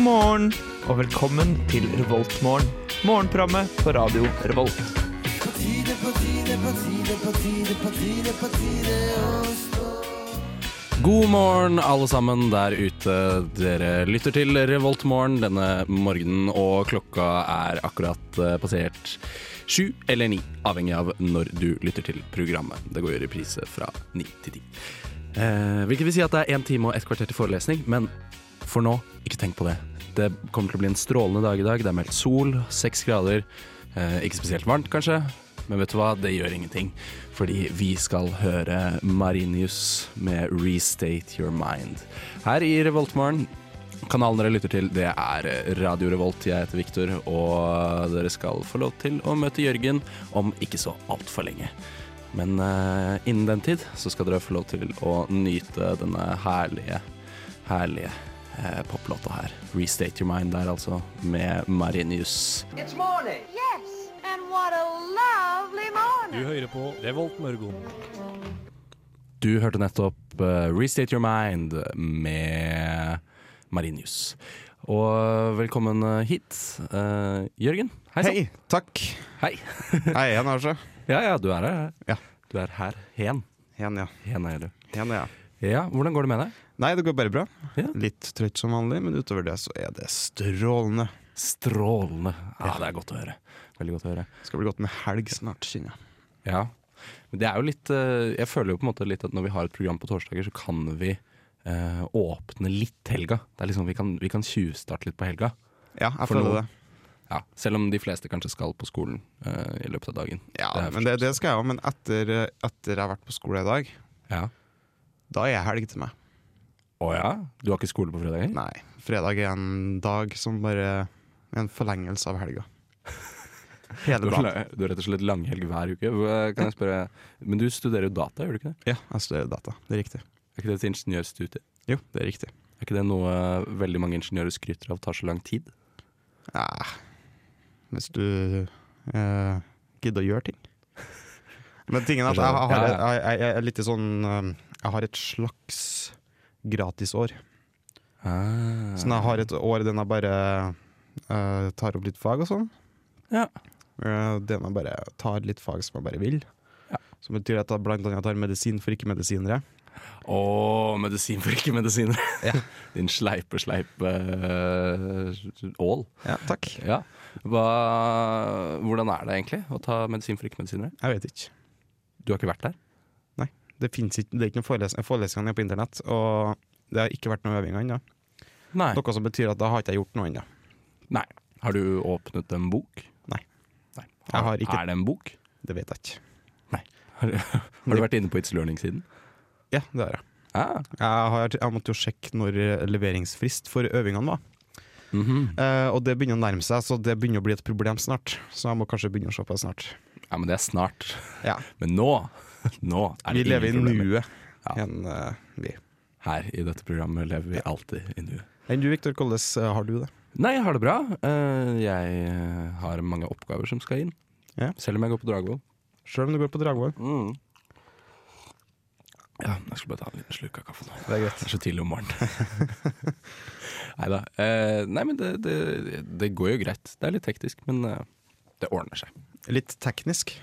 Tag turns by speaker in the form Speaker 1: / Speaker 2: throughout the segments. Speaker 1: morgen og velkommen til Revoltmorgen. Morgenprogrammet på radio Revolt.
Speaker 2: God morgen, alle sammen der ute. Dere lytter til Revoltmorgen denne morgenen, og klokka er akkurat eh, passert sju eller ni, avhengig av når du lytter til programmet. Det går i reprise fra ni til ti. Eh, hvilket vil si at det er én time og et kvarter til forelesning, men for nå, ikke tenk på det. Det kommer til å bli en strålende dag i dag. Det er meldt sol, seks grader. Eh, ikke spesielt varmt, kanskje. Men vet du hva, det gjør ingenting. Fordi vi skal høre Marinius med 'Restate Your Mind'. Her i Revoltmorgen. Kanalen dere lytter til, det er Radio Revolt. Jeg heter Viktor, og dere skal få lov til å møte Jørgen om ikke så altfor lenge. Men eh, innen den tid så skal dere få lov til å nyte denne herlige, herlige eh, poplåta her. 'Restate Your Mind' der, altså, med Marinius.
Speaker 3: It's morning.
Speaker 4: Yes, and what a lovely morning.
Speaker 5: hører på Revolt Mørgon.
Speaker 2: Du hørte nettopp eh, Restate Your Mind med Marinius. Og velkommen hit, eh, Jørgen. Hei sann.
Speaker 6: Hei, takk.
Speaker 2: Hei.
Speaker 6: Hei igjen, altså.
Speaker 2: Ja, ja, du er her.
Speaker 6: Ja.
Speaker 2: Du er her. Hen.
Speaker 6: Igjen, ja.
Speaker 2: Hen er du.
Speaker 6: Igjen, ja.
Speaker 2: Ja, hvordan går det med deg?
Speaker 6: Nei, det går bare bra.
Speaker 2: Ja.
Speaker 6: Litt trøtt som vanlig, men utover det så er det strålende.
Speaker 2: Strålende. Ja, det er godt å høre. Veldig godt å høre.
Speaker 6: Skal bli godt med helg snart, kjenner jeg.
Speaker 2: Ja. Men det er jo litt eh, Jeg føler jo på en måte litt at når vi har et program på torsdager, så kan vi eh, åpne litt helga. Det er liksom, Vi kan, vi kan tjuvstarte litt på helga.
Speaker 6: Ja, jeg
Speaker 2: For
Speaker 6: føler
Speaker 2: noen.
Speaker 6: det.
Speaker 2: Ja, Selv om de fleste kanskje skal på skolen eh, i løpet av dagen.
Speaker 6: Ja,
Speaker 2: Det er
Speaker 6: men det, det skal jeg òg. Men etter, etter jeg har vært på skole i dag,
Speaker 2: Ja.
Speaker 6: da er helg til meg.
Speaker 2: Å ja? Du har ikke skole på fredager?
Speaker 6: Nei, fredag er en dag som bare er en forlengelse av helga.
Speaker 2: Du
Speaker 6: Hele
Speaker 2: har,
Speaker 6: dagen.
Speaker 2: la- du har rett og slett langhelg hver uke. Hva- Kan jeg spørre, Men du studerer jo data, gjør du ikke det?
Speaker 6: Ja, jeg studerer data. Det er riktig.
Speaker 2: Er ikke det et ingeniørstudie?
Speaker 6: Jo, det er riktig.
Speaker 2: Er ikke det noe eh, veldig mange ingeniører skryter av tar så lang tid?
Speaker 6: Nei, hvis du eh, gidder å gjøre ting. Men tingen er at jeg, jeg, har,
Speaker 2: Ja,
Speaker 6: jeg, jeg, jeg er litt i sånn eh, Jeg har et slags gratisår.
Speaker 2: Ah.
Speaker 6: Så når jeg har et år den jeg bare eh, tar opp litt fag og sånn.
Speaker 2: Ja.
Speaker 6: Eh, den jeg bare tar litt fag som jeg bare vil.
Speaker 2: Ja.
Speaker 6: Som betyr at jeg blant annet tar medisin for ikke-medisinere.
Speaker 2: Å, medisin for ikke-medisinere! Din sleipe, sleipe eh, ål.
Speaker 6: Ja, takk.
Speaker 2: Ja. Hva, hvordan er det egentlig å ta medisin for ikke-medisinere?
Speaker 6: Jeg vet ikke.
Speaker 2: Du har ikke vært der?
Speaker 6: Det, finnes ikke, det er ikke noen forelesninger, forelesningene er på internett, og det har ikke vært noen øvinger ennå.
Speaker 2: Nei.
Speaker 6: Noe som betyr at da har ikke jeg gjort noe ennå.
Speaker 2: Nei. Har du åpnet en bok?
Speaker 6: Nei.
Speaker 2: Nei.
Speaker 6: Jeg har ikke-
Speaker 2: Er det en bok?
Speaker 6: Det vet jeg ikke.
Speaker 2: Har, har du vært inne på It's Learning-siden?
Speaker 6: Ja, det har jeg.
Speaker 2: Ah.
Speaker 6: Jeg, har, jeg måtte jo sjekke når eh, leveringsfrist for øvingene var.
Speaker 2: mhm.
Speaker 6: Eh, og det begynner å nærme seg, så det begynner å bli et problem snart. Så jeg må kanskje begynne å se på det snart.
Speaker 2: Ja, men det er snart.
Speaker 6: Ja,
Speaker 2: Men nå, nå er det
Speaker 6: Vi lever i
Speaker 2: ingen problemer.
Speaker 6: nuet.
Speaker 2: Ja.
Speaker 6: enn, eh, vi.
Speaker 2: Her i dette programmet lever vi alltid i nuet.
Speaker 6: Enn du, Viktor, hvordan eh, har du det?
Speaker 2: Nei, jeg har det bra. Eh, jeg har mange oppgaver som skal inn.
Speaker 6: Ja. Mm.
Speaker 2: Selv om jeg går på Dragvoll.
Speaker 6: Sjøl om du går på Dragvoll?
Speaker 2: Ja, jeg skulle bare ta en liten slurk av kaffen. nå.
Speaker 6: Det er greit.
Speaker 2: Det er så tidlig om morgenen. nei da. Eh, nei, men det, det, det går jo greit. Det er litt hektisk, men eh, det ordner seg.
Speaker 6: Litt teknisk.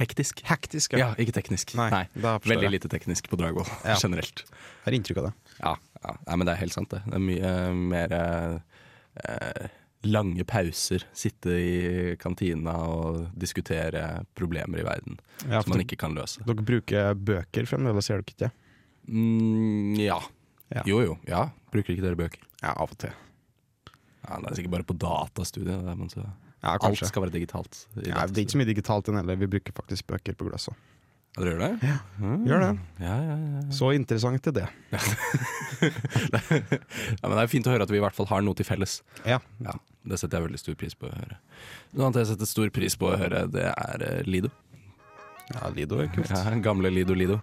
Speaker 2: Hektisk?
Speaker 6: Hektisk,
Speaker 2: Ja, ikke teknisk.
Speaker 6: Nei, da forstår
Speaker 2: Veldig
Speaker 6: jeg.
Speaker 2: lite teknisk på Dragvoll
Speaker 6: Ja.
Speaker 2: generelt.
Speaker 6: Jeg har inntrykk av det.
Speaker 2: Ja, ja. Nei, men det er helt sant, det. Det er mye eh, mer eh, lange pauser. Sitte i kantina og diskutere problemer i verden
Speaker 6: Ja,
Speaker 2: som
Speaker 6: for
Speaker 2: man
Speaker 6: dere,
Speaker 2: ikke kan løse.
Speaker 6: dere bruker bøker fremdeles, gjør dere ikke det?
Speaker 2: Mm, ja.
Speaker 6: Ja.
Speaker 2: Jo jo, ja. Bruker ikke dere bøker?
Speaker 6: Ja, av og til.
Speaker 2: Ja, det er sikkert bare på datastudiet. det er man så-
Speaker 6: Ja,
Speaker 2: Alt
Speaker 6: kanskje.
Speaker 2: skal være digitalt. i
Speaker 6: Ja, det er
Speaker 2: datastudiet.
Speaker 6: ikke så mye digitalt enn heller, vi bruker faktisk bøker på glasset.
Speaker 2: Ja, Mm. Dere gjør det?
Speaker 6: Gjør det.
Speaker 2: Ja, ja, ja.
Speaker 6: Så interessant er det.
Speaker 2: ja, men Det er fint å høre at vi i hvert fall har noe til felles.
Speaker 6: Ja.
Speaker 2: Ja, Det setter jeg veldig stor pris på å høre. Noe annet jeg setter stor pris på å høre, det er eh, Lido.
Speaker 6: ja Lido er kult.
Speaker 2: Ja, gamle Lido Lido.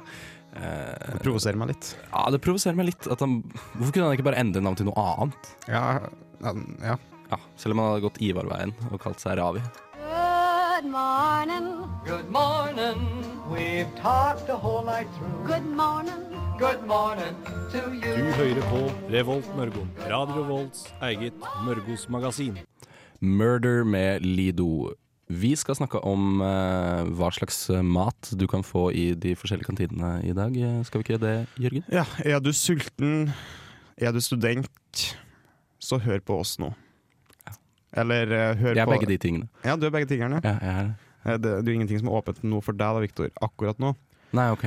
Speaker 2: Eh,
Speaker 6: Det provoserer meg litt.
Speaker 2: ja, det provoserer meg litt. At han, hvorfor kunne han ikke bare endre navn til noe annet?
Speaker 6: Ja, ja, ja.
Speaker 2: Ja, selv om han hadde gått Ivarveien og kalt seg Ravi.
Speaker 4: Good morning.
Speaker 3: Good morning. We've talked the whole night through.
Speaker 4: Good morning.
Speaker 3: Good morning to you.
Speaker 5: Du hører på Revolt Mørgo. Radio Volts eget Mørgos magasin.
Speaker 2: Murder med Lido. Vi skal snakke om eh, hva slags mat du kan få i de forskjellige kantinene i dag. Eh, Skal vi ikke det, Jørgen?
Speaker 6: Ja, er du sulten, er du student, så hør på oss nå. Eller eh, hør
Speaker 2: Jeg er
Speaker 6: på
Speaker 2: begge de tingene.
Speaker 6: Ja, du er begge tingerne.
Speaker 2: Ja, jeg er det.
Speaker 6: Eh, Det, det er jo ingenting som er åpent nå for deg da, Victor, akkurat nå.
Speaker 2: Nei, ok.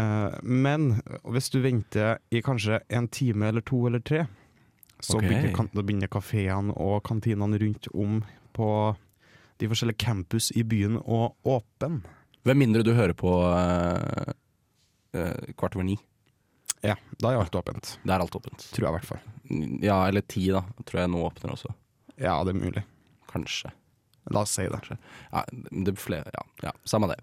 Speaker 6: Eh, Men hvis du venter i kanskje en time eller to eller tre, så
Speaker 2: Ok.
Speaker 6: begynner, kan, da begynner kafeene og kantinene rundt om på de forskjellige campus i byen å åpne.
Speaker 2: Hvem mindre du hører på eh, eh, kvart over ni.
Speaker 6: Ja, da er alt åpent.
Speaker 2: Det er alt åpent.
Speaker 6: Tror jeg i hvert fall.
Speaker 2: Ja, eller ti, da. Tror jeg nå åpner også.
Speaker 6: Ja, det er mulig.
Speaker 2: Kanskje.
Speaker 6: La oss si det.
Speaker 2: Ja, det er flere, ja, ja, samme det.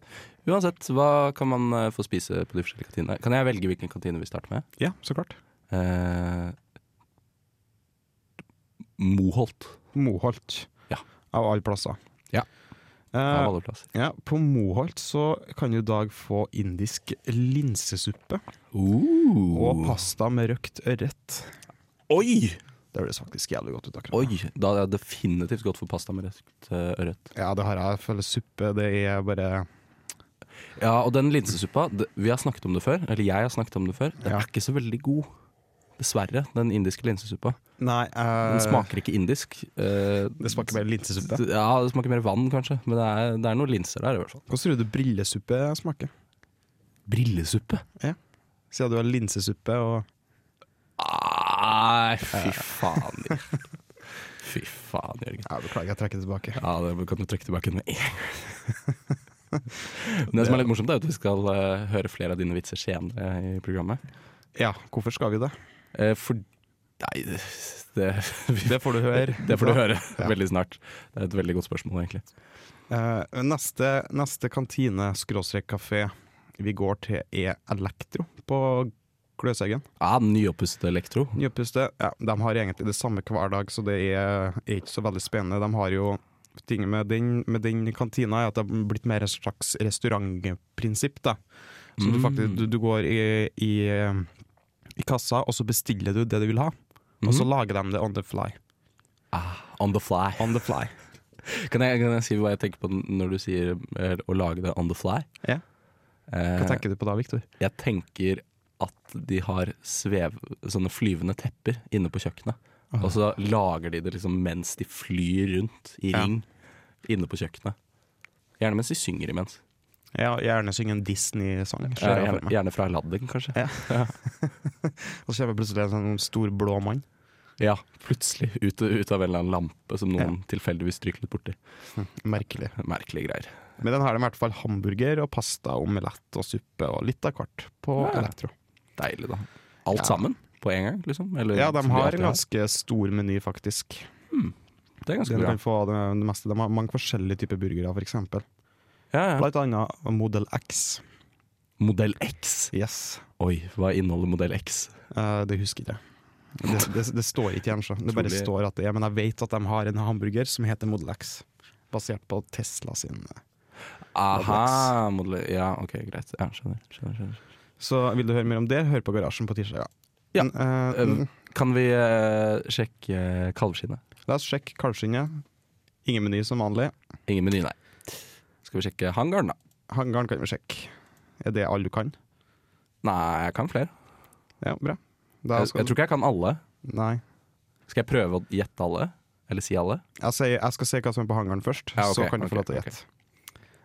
Speaker 2: Uansett, hva kan man eh, få spise på de forskjellige kantinene? Kan jeg velge hvilken kantine vi starter med?
Speaker 6: Ja, så klart.
Speaker 2: Eh, Moholt.
Speaker 6: Moholt.
Speaker 2: Ja.
Speaker 6: Av alle plasser.
Speaker 2: Ja.
Speaker 6: Eh,
Speaker 2: Av alle plasser.
Speaker 6: ja, på Moholt så kan du i dag få indisk linsesuppe og pasta med røkt ørret.
Speaker 2: Uh. Oi!
Speaker 6: Det høres faktisk jævlig godt ut. akkurat.
Speaker 2: Oi, Da hadde jeg definitivt gått for pasta med røkt eh, ørret.
Speaker 6: Ja, det har jeg. Jeg føler suppe, det er bare
Speaker 2: Ja, og den linsesuppa, d- vi har snakket om det før. Eller jeg har snakket om det før. Den
Speaker 6: Ja.
Speaker 2: er ikke så veldig god. Dessverre. Den indiske linsesuppa.
Speaker 6: Nei, eh,
Speaker 2: Den smaker ikke indisk. eh,
Speaker 6: det smaker bare linsesuppe.
Speaker 2: d- Ja, det smaker mer vann, kanskje. Men det er, det er noen linser der, i hvert fall.
Speaker 6: Hvordan tror du brillesuppe smaker?
Speaker 2: Brillesuppe?
Speaker 6: Siden du har linsesuppe og
Speaker 2: Nei, fy faen. Jørgen. Fy faen, Jørgen.
Speaker 6: ja, Beklager, jeg trekker det tilbake.
Speaker 2: Ja, det kan du trekke tilbake med en gang. Men Det som er litt morsomt, er at vi skal eh, høre flere av dine vitser senere i programmet.
Speaker 6: Ja, hvorfor skal vi det?
Speaker 2: Eh, for Nei, det, det,
Speaker 6: Det får du høre.
Speaker 2: det får du høre veldig snart. Det er et veldig godt spørsmål, egentlig.
Speaker 6: Eh, neste, neste kantine, skråstrek kafé, vi går til er Elektro på Gløshaugen.
Speaker 2: Ja, Nyoppustet elektro.
Speaker 6: Nyoppuste. Ja, de har egentlig det samme hver dag, så det er, er ikke så veldig spennende. De har jo ting med den, med den kantina er at det har blitt mer et slags restaurantprinsipp. Da. Så du, faktisk, du, du går i, i, i kassa, og så bestiller du det du vil ha. Og så lager de det on the fly.
Speaker 2: On the fly.
Speaker 6: On the fly.
Speaker 2: Kan jeg, kan jeg si hva jeg tenker på når du sier eh, å lage det on the fly?
Speaker 6: Ja.
Speaker 2: Eh,
Speaker 6: Hva tenker du på da, Viktor?
Speaker 2: Jeg tenker at de har svev, sånne flyvende tepper inne på kjøkkenet. Og så lager de det liksom mens de flyr rundt i
Speaker 6: Ja.
Speaker 2: ring inne på kjøkkenet. Gjerne mens de synger imens.
Speaker 6: Ja, gjerne synge en Disney-sang. ser
Speaker 2: Eh,
Speaker 6: jeg for
Speaker 2: Gjerne,
Speaker 6: meg.
Speaker 2: gjerne fra Aladdin, kanskje. Ja.
Speaker 6: Og så kommer plutselig en sånn stor blå mann.
Speaker 2: Plutselig ut, ut av en eller annen lampe som noen tilfeldigvis stryker litt borti.
Speaker 6: Merkelig.
Speaker 2: Merkelige greier.
Speaker 6: Men den har de i hvert fall hamburger og pasta, omelett og suppe og litt av hvert på
Speaker 2: Ja.
Speaker 6: Elektro.
Speaker 2: Deilig, da. Alt
Speaker 6: Ja.
Speaker 2: sammen på en gang, liksom? Eller,
Speaker 6: Ja, de
Speaker 2: som
Speaker 6: har
Speaker 2: alltid
Speaker 6: en ganske stor meny, faktisk.
Speaker 2: Det er ganske
Speaker 6: Den
Speaker 2: bra.
Speaker 6: kan få det, det meste. De har mange forskjellige typer burgere, f.eks.
Speaker 2: Ja, ja.
Speaker 6: Blant annet Model X.
Speaker 2: Modell X.
Speaker 6: Yes.
Speaker 2: Oi, hva inneholder modell X?
Speaker 6: Eh, det husker jeg ikke. Det, det, det står ikke igjen, så. Det bare
Speaker 2: Utrolig.
Speaker 6: står at det er, men jeg vet at de har en hamburger som heter Model X. Basert på Tesla sin.
Speaker 2: Aha, modell Ja, OK, greit. Ja, skjønner. skjønner, skjønner.
Speaker 6: Så vil du høre mer om det, hør på Garasjen på tirsdag.
Speaker 2: Ja.
Speaker 6: Eh,
Speaker 2: Eh, Kan vi eh, sjekke eh, kalvskinnet?
Speaker 6: la oss sjekke kalvskinnet. Ingen meny som vanlig.
Speaker 2: Ingen meny, nei. Skal vi sjekke hangaren, da?
Speaker 6: Hangaren kan vi sjekke. Er det alle du kan?
Speaker 2: Nei, jeg kan flere.
Speaker 6: Ja, bra. Da
Speaker 2: Jeg,
Speaker 6: skal
Speaker 2: jeg tror ikke jeg kan alle.
Speaker 6: du- Nei.
Speaker 2: Skal jeg prøve å gjette alle? Eller si alle?
Speaker 6: Jeg, sier, jeg skal se hva som er på hangaren først,
Speaker 2: Ja, ok,
Speaker 6: så kan du
Speaker 2: ok,
Speaker 6: få lov til å
Speaker 2: ok.
Speaker 6: gjette.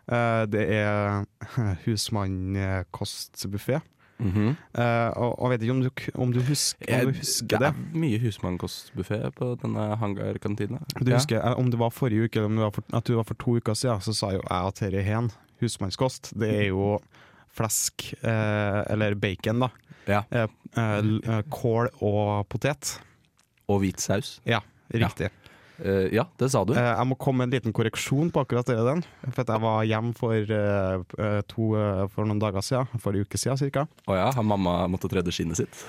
Speaker 6: Eh, det er husmannkostbuffé. Eh, og, og jeg vet ikke om du, k- om du, husker, om du
Speaker 2: Jeg-
Speaker 6: husker
Speaker 2: det
Speaker 6: det.
Speaker 2: er mye husmannkostbuffé på denne hangarkantina.
Speaker 6: Du
Speaker 2: Ja.
Speaker 6: husker, eh, om det var forrige uke eller om det var for, at du var for to uker siden, så sa jo jeg at dette er hen. Husmannskost, det er jo flesk, eh, eller bacon, da.
Speaker 2: Ja.
Speaker 6: Eh, eh, l- eh, kål og potet.
Speaker 2: Og hvit saus.
Speaker 6: Ja, riktig.
Speaker 2: Eh, ja, det sa du.
Speaker 6: Eh, jeg må komme med en liten korreksjon på akkurat det den. For at jeg var hjemme for, eh, eh, to, eh, for noen dager siden, for en uke siden cirka.
Speaker 2: Å ja, har mamma måttet redde skinnet sitt?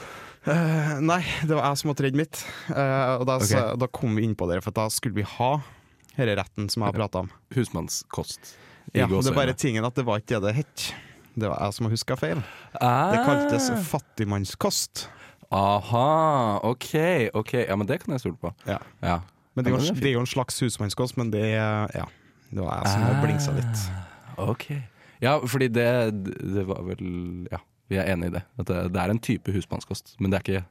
Speaker 6: Eh, nei, det var jeg som måtte redde mitt. Eh, og da,
Speaker 2: Ok.
Speaker 6: sa- da kom vi inn på det, for at da skulle vi ha denne retten som jeg har prata om.
Speaker 2: Husmannskost. i
Speaker 6: Ja, det er
Speaker 2: gåseøyne.
Speaker 6: bare tingen at det var ikke det det het. Det var jeg som huska feil.
Speaker 2: Ah.
Speaker 6: Det kaltes fattigmannskost.
Speaker 2: Aha, ok, ok. Ja, men det kan jeg stole på.
Speaker 6: Ja.
Speaker 2: Ja.
Speaker 6: Men det
Speaker 2: Ja,
Speaker 6: er,
Speaker 2: men det
Speaker 6: jo,
Speaker 2: er
Speaker 6: det er jo en slags husmannskost, men det er Ja. Det var jeg som
Speaker 2: Ah.
Speaker 6: blingsa litt.
Speaker 2: Ok. Ja, fordi det, det var vel Ja, vi er enige i det. At det, det er en type husmannskost, men det er ikke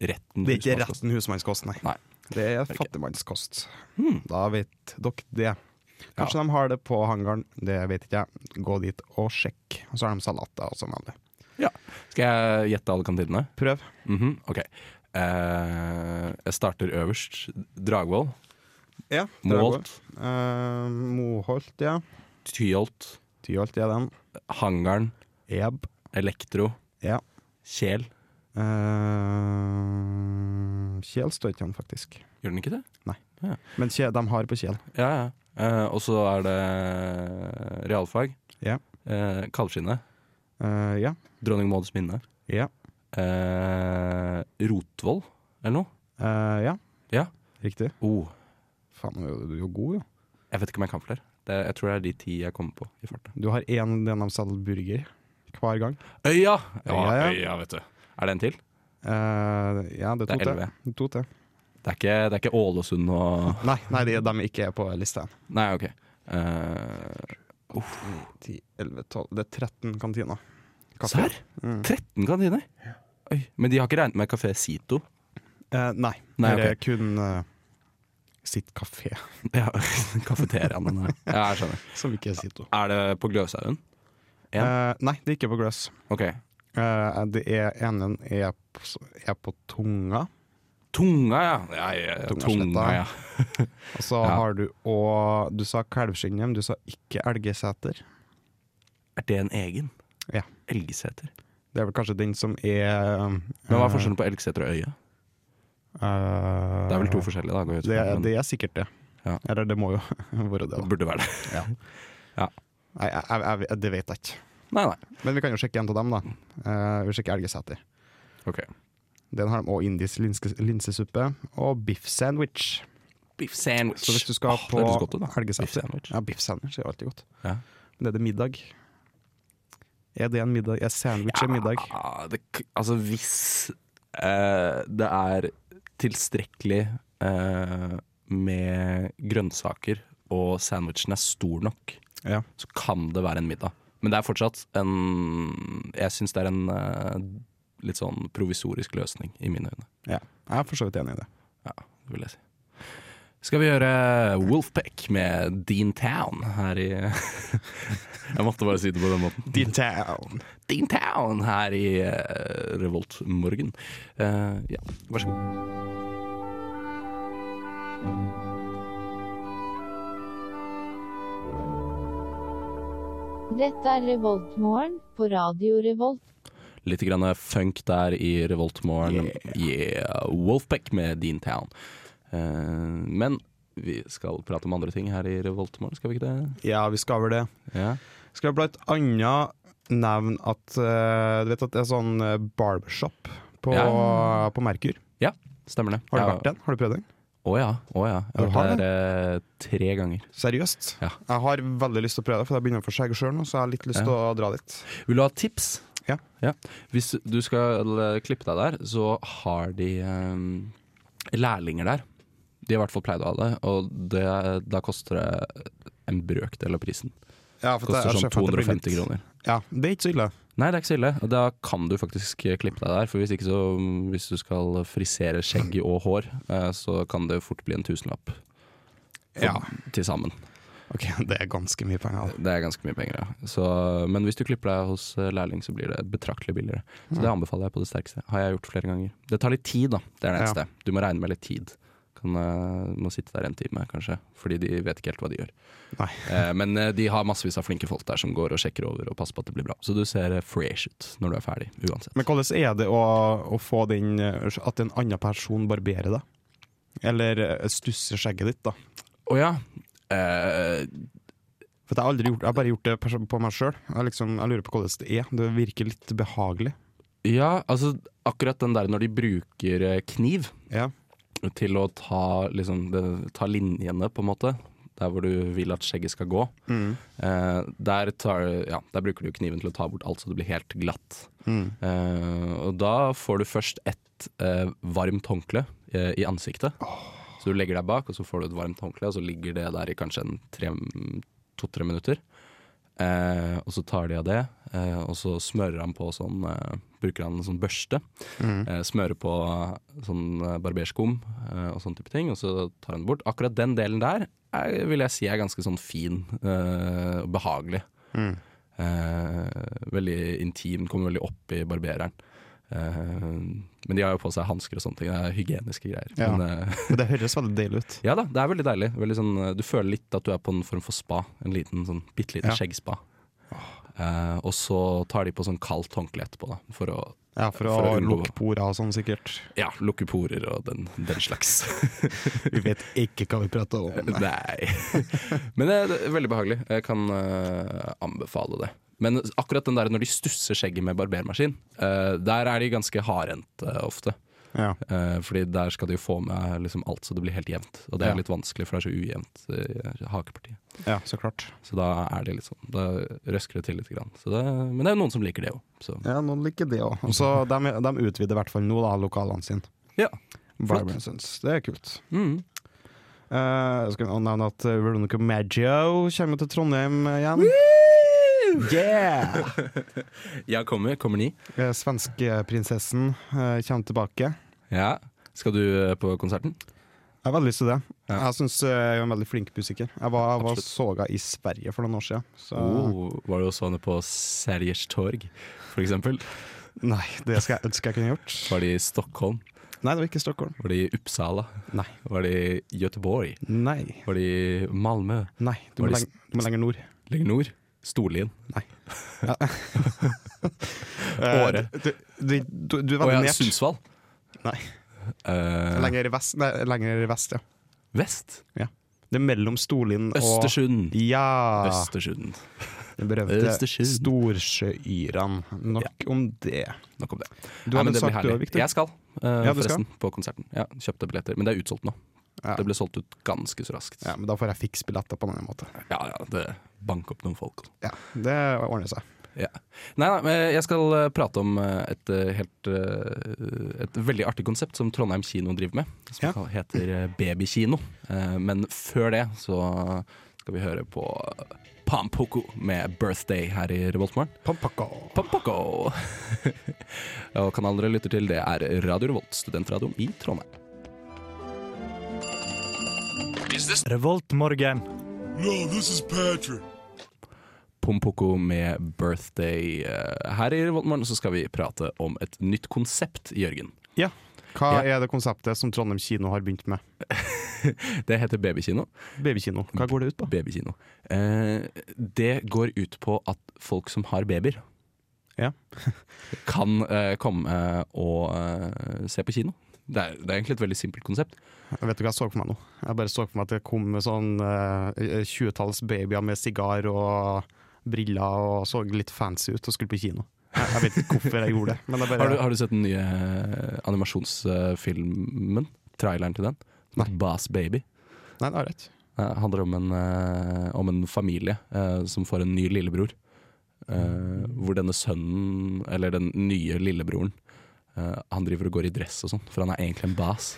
Speaker 2: retten.
Speaker 6: Det er ikke
Speaker 2: husmannskost.
Speaker 6: retten husmannskost, nei.
Speaker 2: Nei.
Speaker 6: Det er fattigmannskost.
Speaker 2: Hmm.
Speaker 6: Da vet dere det. Kanskje de har det på hangaren, det vet ikke jeg. Gå dit og sjekk. Og så har de salater og sånn vanlig.
Speaker 2: Ja. Skal jeg gjette alle kantinene?
Speaker 6: Prøv.
Speaker 2: Mhm, Ok. Eh, jeg starter øverst. Dragvoll.
Speaker 6: Ja,
Speaker 2: Moholt.
Speaker 6: Eh, Moholt, ja.
Speaker 2: Tyholt.
Speaker 6: Tyholt er den.
Speaker 2: Hangaren.
Speaker 6: Eb.
Speaker 2: Elektro.
Speaker 6: Ja.
Speaker 2: Kjel.
Speaker 6: Eh, Kjel står ikke han, faktisk.
Speaker 2: Gjør den ikke det?
Speaker 6: Men kje, de har på Kjel.
Speaker 2: Ja, ja. Eh, og så er det realfag.
Speaker 6: Ja.
Speaker 2: Eh, Kalvskinnet.
Speaker 6: Eh, ja.
Speaker 2: Dronning Mauds minne.
Speaker 6: Ja.
Speaker 2: Eh, Rotvoll, eller noe?
Speaker 6: Eh, ja.
Speaker 2: Ja.
Speaker 6: Riktig.
Speaker 2: Oh,
Speaker 6: Faen, du er jo- du er jo god, jo.
Speaker 2: jeg vet ikke om jeg kan flere. Det, jeg tror det er de ti jeg kommer på i farta.
Speaker 6: Du har én den de selger burger hver gang.
Speaker 2: Øya! Ja,
Speaker 6: Øya, ja.
Speaker 2: øya, vet du. Er det en til?
Speaker 6: Eh, ja, det
Speaker 2: Det
Speaker 6: er
Speaker 2: er
Speaker 6: to til.
Speaker 2: elleve.
Speaker 6: To til.
Speaker 2: Det er ikke, det er ikke Ålesund og
Speaker 6: Nei, nei de, de ikke er på lista.
Speaker 2: Nei, OK. Eh,
Speaker 6: 10, 11, 12 Det er 13 kantiner.
Speaker 2: Serr?
Speaker 6: Mm.
Speaker 2: 13 kantiner? Oi, men de har ikke regnet med Kafé Sito?
Speaker 6: Eh, nei,
Speaker 2: Nei,
Speaker 6: det er kun eh, sitt kafé,
Speaker 2: Ja, Kafeteriaen. den her. Ja, jeg skjønner.
Speaker 6: som ikke er sitt.
Speaker 2: Er det på Gløshaugen? Ja.
Speaker 6: Eh, nei, det er ikke på gløss.
Speaker 2: OK.
Speaker 6: Eh, det er enen er, p- er på tunga,
Speaker 2: Tunga, ja. ja, ja, ja.
Speaker 6: Tungasletta.
Speaker 2: Tunga, ja.
Speaker 6: og så
Speaker 2: Ja.
Speaker 6: har du òg Du sa kalvskinn, men du sa ikke elgeseter.
Speaker 2: Er det en egen?
Speaker 6: Ja.
Speaker 2: Elgeseter.
Speaker 6: Det er vel kanskje den som er
Speaker 2: Men hva er forskjellen på Elgeseter og Øya? Det er vel to forskjellige, da. Går jeg ut
Speaker 6: eh, Det,
Speaker 2: fra, men
Speaker 6: det er sikkert det.
Speaker 2: Ja.
Speaker 6: Eller det må jo være det,
Speaker 2: det
Speaker 6: da.
Speaker 2: burde være det.
Speaker 6: Nei, jeg, jeg, jeg, det vet jeg ikke.
Speaker 2: Nei, nei.
Speaker 6: Men vi kan jo sjekke en av dem, da. Eh, vi sjekker Elgeseter.
Speaker 2: Ok.
Speaker 6: Den har de òg indisk linske, linsesuppe og biff sandwich.
Speaker 2: Beef sandwich.
Speaker 6: Så hvis du skal
Speaker 2: Åh,
Speaker 6: på
Speaker 2: det høres godt ut, da. Beef
Speaker 6: Elgeseter
Speaker 2: sandwich.
Speaker 6: Ja, biff sandwich er jo alltid godt.
Speaker 2: Ja.
Speaker 6: Men er det middag? Er det en middag? Er sandwich en middag?
Speaker 2: Ja, det, k- altså, hvis eh, det er tilstrekkelig eh, med grønnsaker, og sandwichen er stor nok,
Speaker 6: Ja.
Speaker 2: så kan det være en middag. Men det er fortsatt en Jeg syns det er en eh, litt sånn provisorisk løsning, i mine øyne.
Speaker 6: ja. Jeg er for så vidt enig i det.
Speaker 2: Ja, det vil jeg si. Skal vi gjøre Wolfpack med Dean Town her i Jeg måtte bare si det på den måten.
Speaker 6: Detown.
Speaker 2: Dean Town her i eh, Revolt Morgen. Eh, ja, vær så god.
Speaker 7: Dette er Revoltmorgen på Radio Revolt.
Speaker 2: Litt grann funk der i Revolt Morgen. Yeah. Wolfpack med Dean Town. Eh, men vi skal prate om andre ting her i Revolt Morgen, skal vi ikke det?
Speaker 6: Ja, vi skal vel det.
Speaker 2: Ja.
Speaker 6: Skal vi blant annet nevne at eh, Du vet at det er sånn eh, barbershop på,
Speaker 2: Ja.
Speaker 6: på Merkur?
Speaker 2: ja, stemmer det.
Speaker 6: Har du
Speaker 2: ja.
Speaker 6: vært den? Har du prøvd den?
Speaker 2: Å ja. Å ja. Jeg har
Speaker 6: Du har
Speaker 2: vært der eh, tre ganger.
Speaker 6: Seriøst?
Speaker 2: Ja.
Speaker 6: Jeg har veldig lyst til å prøve det, for jeg begynner å få skjegg sjøl nå, så jeg har litt lyst til å dra dit.
Speaker 2: Vil du ha tips?
Speaker 6: Ja.
Speaker 2: Hvis du skal eh, klippe deg der, så har de eh, lærlinger der. De har i hvert fall pleid å ha det, og det, da koster det en brøkdel av prisen.
Speaker 6: Ja, for
Speaker 2: Koster
Speaker 6: jeg
Speaker 2: sånn
Speaker 6: ser for meg at det blir
Speaker 2: 250
Speaker 6: litt-
Speaker 2: kroner.
Speaker 6: Ja, det er ikke så ille.
Speaker 2: Nei, det er ikke så ille. Og Da kan du faktisk eh, klippe deg der. For hvis ikke så, hvis du skal frisere skjegg og hår, eh, så kan det fort bli en tusenlapp for-
Speaker 6: Ja.
Speaker 2: til sammen.
Speaker 6: Ok, det er ganske mye penger. altså. da.
Speaker 2: Det er ganske mye penger, ja. Så, men hvis du klipper deg hos eh, lærling, så blir det betraktelig billigere. Så
Speaker 6: Mm.
Speaker 2: det anbefaler jeg på det sterkeste. Har jeg gjort flere ganger. Det tar litt tid, da. Det er det
Speaker 6: Ja.
Speaker 2: eneste. Du må regne med litt tid. Kan, eh, må sitte der en time, kanskje. Fordi de vet ikke helt hva de gjør.
Speaker 6: Nei.
Speaker 2: Eh, men eh, de har massevis av flinke folk der som går og sjekker over og passer på at det blir bra. Så du ser eh, fresh ut når du er ferdig, uansett.
Speaker 6: Men hvordan er det å, å få den eh, At en annen person barberer deg? Eller eh, stusser skjegget ditt, da?
Speaker 2: Å ja. Eh,
Speaker 6: For at jeg har aldri gjort Jeg har bare gjort det pers- på meg sjøl. Jeg, liksom, jeg lurer på hvordan det er. Det virker litt behagelig.
Speaker 2: ja, altså akkurat den der når de bruker eh, kniv
Speaker 6: Ja.
Speaker 2: til å ta, liksom, det, ta linjene, på en måte. der hvor du vil at skjegget skal gå. Eh, der, tar, ja, der bruker du jo kniven til å ta bort alt så det blir helt glatt. Eh, og da får du først et eh, varmt håndkle eh, i ansiktet. Så du legger deg bak, og så får du et varmt håndkle, og så ligger det der i kanskje en tre, to-tre minutter. Eh, og så tar de av det, eh, og så smører han på sånn eh, Bruker han en sånn børste. Eh, smører på sånn eh, barberskum eh, og sånn type ting, og så tar han det bort. Akkurat den delen der er, vil jeg si er ganske sånn fin eh, og behagelig. Eh, veldig intim, kommer veldig opp i barbereren. Eh, men de har jo på seg hansker og sånne ting, det er hygieniske greier.
Speaker 6: Ja.
Speaker 2: Men, eh,
Speaker 6: Men det høres veldig deilig ut.
Speaker 2: ja da, det er veldig deilig. Veldig sånn, eh, du føler litt at du er på en form for spa. En liten, sånn, bitte liten
Speaker 6: Ja.
Speaker 2: skjeggspa. Eh, og så tar de på sånn kaldt håndkle etterpå, da, for å
Speaker 6: Ja, For å,
Speaker 2: For å unngå-
Speaker 6: lukke porer og sånn, sikkert.
Speaker 2: ja, lukke porer og den, den slags.
Speaker 6: Vi vet ikke hva vi prater om.
Speaker 2: Nei. Men det er veldig behagelig. Jeg kan eh, anbefale det. Men akkurat den der når de stusser skjegget med barbermaskin, eh, der er de ganske hardhendte ofte.
Speaker 6: Ja.
Speaker 2: Eh, fordi der skal de jo få med liksom alt så det blir helt jevnt. Og det
Speaker 6: Ja.
Speaker 2: er litt vanskelig, for det er så ujevnt eh, i hakepartiet.
Speaker 6: ja, så klart.
Speaker 2: Så da er det litt sånn, da røsker det til litt. Grann. Så det, men det er jo noen som liker det òg. Så
Speaker 6: Ja, noen liker det òg. Så de, de utvider i hvert fall nå da, lokalene sine.
Speaker 2: ja.
Speaker 6: Vibrations. Det er kult.
Speaker 2: Mm.
Speaker 6: Eh, jeg skal nevne at eh, Veronica Maggio kommer til Trondheim eh, igjen. Yeah!
Speaker 2: Jeg kommer. Kommer ni?
Speaker 6: Eh, Svenskeprinsessen eh, kommer tilbake.
Speaker 2: Ja. Skal du eh, på konserten?
Speaker 6: Jeg har veldig lyst til det.
Speaker 2: Ja.
Speaker 6: Jeg syns eh, jeg er en veldig flink musiker. Jeg var, jeg var såga i Sverige for noen år siden. Så
Speaker 2: Oh, var du også henne på Sergers torg, for eksempel?
Speaker 6: nei, det skal jeg ønske jeg kunne gjort.
Speaker 2: Var de i Stockholm?
Speaker 6: Nei, det var ikke Stockholm.
Speaker 2: Var de i Uppsala?
Speaker 6: Nei.
Speaker 2: Var de i Göteborg?
Speaker 6: Nei.
Speaker 2: Var de i Malmö?
Speaker 6: Nei, du
Speaker 2: Var
Speaker 6: må,
Speaker 2: det
Speaker 6: leng du må lenger nord.
Speaker 2: Lenger nord? Storlien? Åre.
Speaker 6: Eh, Du, du, du, du er
Speaker 2: Å
Speaker 6: veldig
Speaker 2: ja,
Speaker 6: nært.
Speaker 2: Sundsvall?
Speaker 6: Nei.
Speaker 2: Eh,
Speaker 6: Lenger vest, nei, lenger vest, ja.
Speaker 2: vest?
Speaker 6: ja. Det er mellom Storlien og
Speaker 2: Østersund.
Speaker 6: Ja!
Speaker 2: Østersund.
Speaker 6: Den berømte
Speaker 2: Østersund.
Speaker 6: Storsjøyran. Nok om det.
Speaker 2: Nok om det.
Speaker 6: Du
Speaker 2: Nei,
Speaker 6: hadde
Speaker 2: men det blir
Speaker 6: sagt du
Speaker 2: herlig.
Speaker 6: var Victor.
Speaker 2: Jeg skal, eh,
Speaker 6: Ja, du skal?
Speaker 2: forresten, på konserten. Ja, kjøpte billetter, men det er utsolgt nå.
Speaker 6: Ja.
Speaker 2: Det ble solgt ut ganske så raskt.
Speaker 6: Ja, men da får jeg fiks billetter på denne måten.
Speaker 2: ja, ja, det bank opp noen folk.
Speaker 6: Ja, det ordner seg.
Speaker 2: Ja. Nei, nei, men jeg skal eh, prate om eh, et eh, helt eh, Et veldig artig konsept som Trondheim kino driver med. Som
Speaker 6: Ja.
Speaker 2: kal- heter eh, babykino. Eh, Men før det så skal vi høre på Pampoko med 'Birthday' her i Revoltmorgen.
Speaker 6: Pampakka.
Speaker 2: Pampoko! Og kanalen dere lytter til, det er Radio Revolt, studentradioen i Trondheim.
Speaker 5: Revoltmorgen.
Speaker 2: Pompoko med 'Birthday'. Eh, Her i Revoltmorgen så skal vi prate om et nytt konsept, Jørgen.
Speaker 6: Ja. Hva er det konseptet som Trondheim kino har begynt med?
Speaker 2: Det heter babykino.
Speaker 6: Babykino. Hva går det ut på?
Speaker 2: Babykino. Eh, det går ut på at folk som har babyer,
Speaker 6: Ja.
Speaker 2: kan eh, komme eh, og eh, se på kino. Det er, det er egentlig et veldig simpelt konsept.
Speaker 6: Vet du hva jeg så for meg nå? Jeg bare så for meg at det kom med sånn tjuetalls babyer med sigar og briller og så litt fancy ut og skulle på kino. Jeg jeg vet ikke hvorfor jeg gjorde det. Men jeg bare,
Speaker 2: Har du, har du sett den nye eh, animasjonsfilmen? Traileren til den?
Speaker 6: Nei.
Speaker 2: Bass Baby.
Speaker 6: Nei, det har jeg ikke.
Speaker 2: Det handler om en, eh, om en familie eh, som får en ny lillebror. Eh, hvor denne sønnen, eller den nye lillebroren, eh, han driver og går i dress og sånn, for han er egentlig en bas.